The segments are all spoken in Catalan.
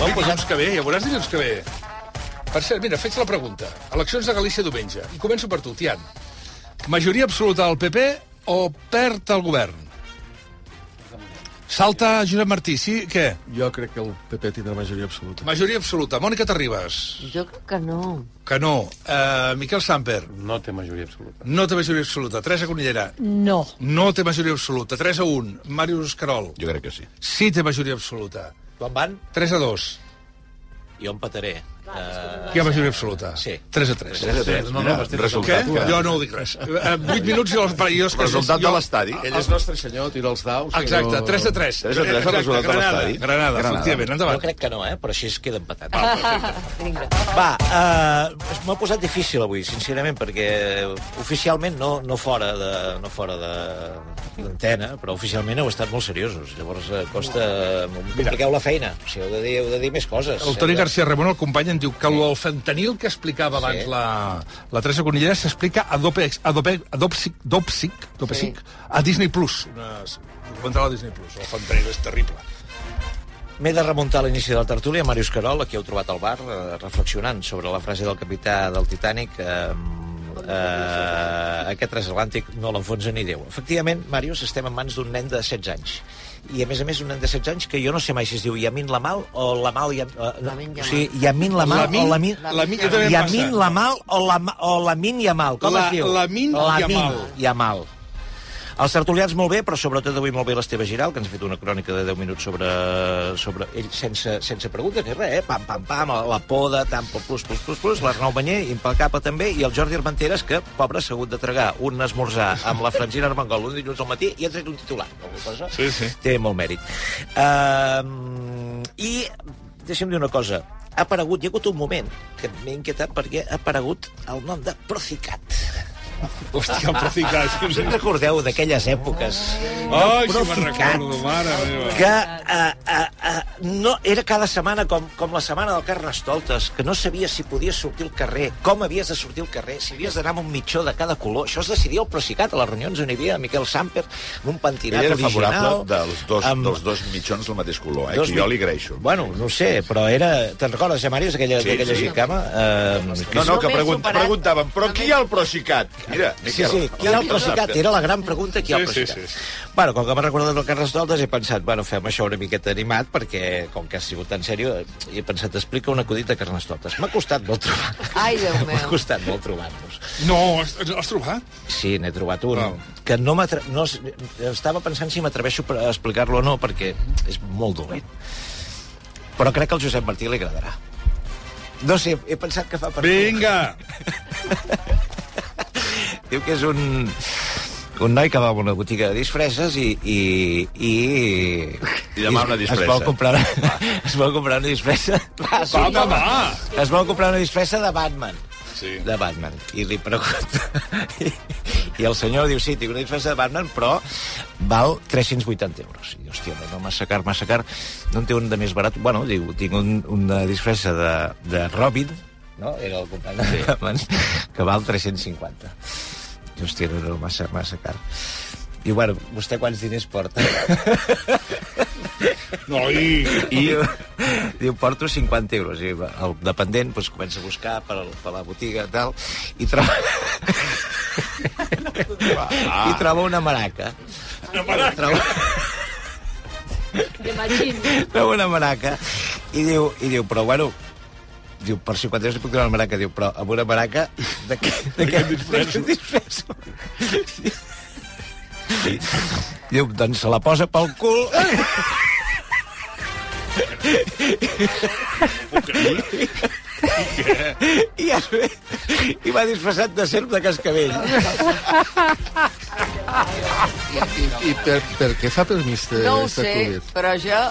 Home, doncs Ah. doncs que ve, ja veuràs dilluns que ve. Per cert, mira, faig la pregunta. Eleccions de Galícia diumenge. I començo per tu, Tian. Majoria absoluta del PP o perd el govern? Salta Josep Martí, sí? Què? Jo crec que el PP tindrà majoria absoluta. Majoria absoluta. Mònica Terribas. Jo crec que no. Que no. Uh, Miquel Samper. No té majoria absoluta. No té majoria absoluta. Teresa Conillera. No. No té majoria absoluta. 3 a 1. Màrius Carol. Jo crec que sí. Sí té majoria absoluta. Quan van, 3 a 2. jo empataré. Eh, Hi ha majoria absoluta. Sí. 3 a 3. Tres a tres. no, no, Mira, m'estic Què? resultat. Que... Jo no ho dic res. 8 minuts i els parellos... Resultat de l'estadi. Ell és nostre senyor, tira els daus. Exacte, però- 3 a 3. Tres a tres, el Exacte, resultat de Granada, l'estadi. Granada, Granada. efectivament, jo endavant. crec que no, eh? però així es queda empatat. Vinga. Va, eh, m'ha posat difícil avui, sincerament, perquè oficialment, no, no fora de no fora de- d'antena, però oficialment heu estat molt seriosos. Llavors eh, costa... Compliqueu la feina. O sigui, heu de dir, heu de dir més coses. El eh. Toni Heu de- García Ramon, el company, em diu que el del fentanil que explicava Sí. abans la, la Teresa Conillera s'explica a Dopex, a Dopex, a Dopsic, Dopsic, Dopsic, a Disney+. Plus. Una documental a Disney+. Plus. El fentanil és terrible. M'he de remuntar a l'inici de la tertúlia, Màrius Carol, a qui heu trobat al bar, eh, reflexionant sobre la frase del capità del Titanic, eh, eh, aquest transatlàntic no l'enfonsa ni Déu. Efectivament, Màrius, estem en mans d'un nen de 16 anys. I, a més a més, un nen de 16 anys que jo no sé mai si es diu Yamin Lamal o Lamal... Yam, eh, no, Lamin o sigui, Yamin Lamal Lamin- o Lamin... Lamin- jo també em Yamin passa. Lamal o, Lama, o Lamin Yamal. Com La- es diu? Lamin Yamal. Yamal. Els tertulians molt bé, però sobretot avui molt bé l'Esteve Giral, que ens ha fet una crònica de 10 minuts sobre, sobre ell, sense, sense preguntes ni res, eh? Pam, pam, pam, la poda, tant, pel plus, plus, plus, plus, l'Arnau Banyer, impecable també, i el Jordi Armenteres, que, pobre, s'ha hagut de tragar un esmorzar amb la Francina Armengol un dilluns al matí i ha tret un titular. Alguna cosa Sí, sí. té molt mèrit. Uh, I deixa'm dir una cosa. Ha aparegut, hi ha hagut un moment que m'he inquietat perquè ha aparegut el nom de Procicat. Hòstia, el ah, Procicat. Us en recordeu d'aquelles èpoques? Ai, si me'n Procicat, recordo, mare meva. que eh, eh, eh, no, era cada setmana com, com la setmana del Carnestoltes, que no sabies si podies sortir al carrer, com havies de sortir al carrer, si havies d'anar amb un mitjó de cada color. Això es decidia el Procicat, a les reunions on hi havia Miquel Samper, amb un Ell pentinat era original. favorable dels dos, amb- dels dos mitjons del mateix color, eh? Dos que jo mi- li greixo. Bueno, no ho sé, però era... Te'n recordes, ja, Màrius, aquella, Sí, sí, aquella sí. sí. gincama? Eh, No, no, que Només pregun superat- preguntaven, però qui hi ha el procicat? Mira, Sí, Miquel. sí, qui ha el Procicat? Samper. Era la gran pregunta, qui ha el Sí, sí, Procicat? Sí, sí, sí, sí. Bueno, com que m'ha recordat el Carnestoltes, he pensat, bueno, fem això una miqueta animat, perquè, com que ha sigut tan sèrio, he pensat, explica un acudit de Carnestoltes. M'ha costat molt trobar. Ai, Déu M'ha meu. costat molt trobar-los. No, has, has trobat? Sí, n'he trobat un. Val. Que no, m'atre- no s- Estava pensant si m'atreveixo per- a explicar-lo o no, perquè és molt dolent. Però crec que al Josep Martí li agradarà. No sé, he pensat que fa per... Vinga! Diu que és un... Un noi que va a una botiga de disfresses i... I, i, I demana una es- disfressa. Es vol comprar, es vol comprar una disfressa... Va, sí, Home, home. va! Es vol comprar una disfressa de Batman. Sí. De Batman. I li pregunta... I, I el senyor diu, sí, tinc una disfressa de Batman, però val 380 euros. I, hòstia, no, massa car, massa car. No en té un de més barat? Bueno, diu, tinc un, una disfressa de, de Robin, no? Era el company de Batman, que val 350. I, hòstia, no, no, massa, massa car. Diu, bueno, vostè quants diners porta? Noi! I diu, diu, porto 50 euros. I va, el dependent doncs, comença a buscar per, al- per la botiga tal, i troba... I troba una maraca. Una maraca? Troba... Troba una maraca. I diu, i diu però bueno, diu, per 50 euros li puc donar una maraca. Diu, però amb una maraca de què, de què, de què disfresso? Diu, doncs se la posa pel cul i, es ve, i va disfressat de serp de cascavell. I, i per, per què fa permís de No ho de sé, Covid? però jo...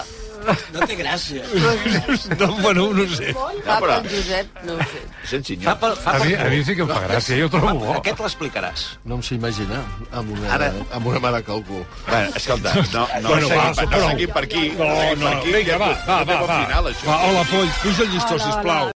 No té gràcia. No, bueno, no ho sé. Fa però- pel Josep, no ho sé. Sent Fa senyor. pel, fa A pel mi, a mi sí que em fa gràcia, jo ho trobo bo. Aquest l'explicaràs. No em sé imaginar amb una, Ara- amb una mare que algú. Bueno, escolta, no, no, Bueno, seguim, va, per, no prou. seguim per aquí. No, seguim no, per aquí, vinga, ja va, no va, té va, bon va. Final, això. Va, hola, Poll, puja el llistó, sisplau.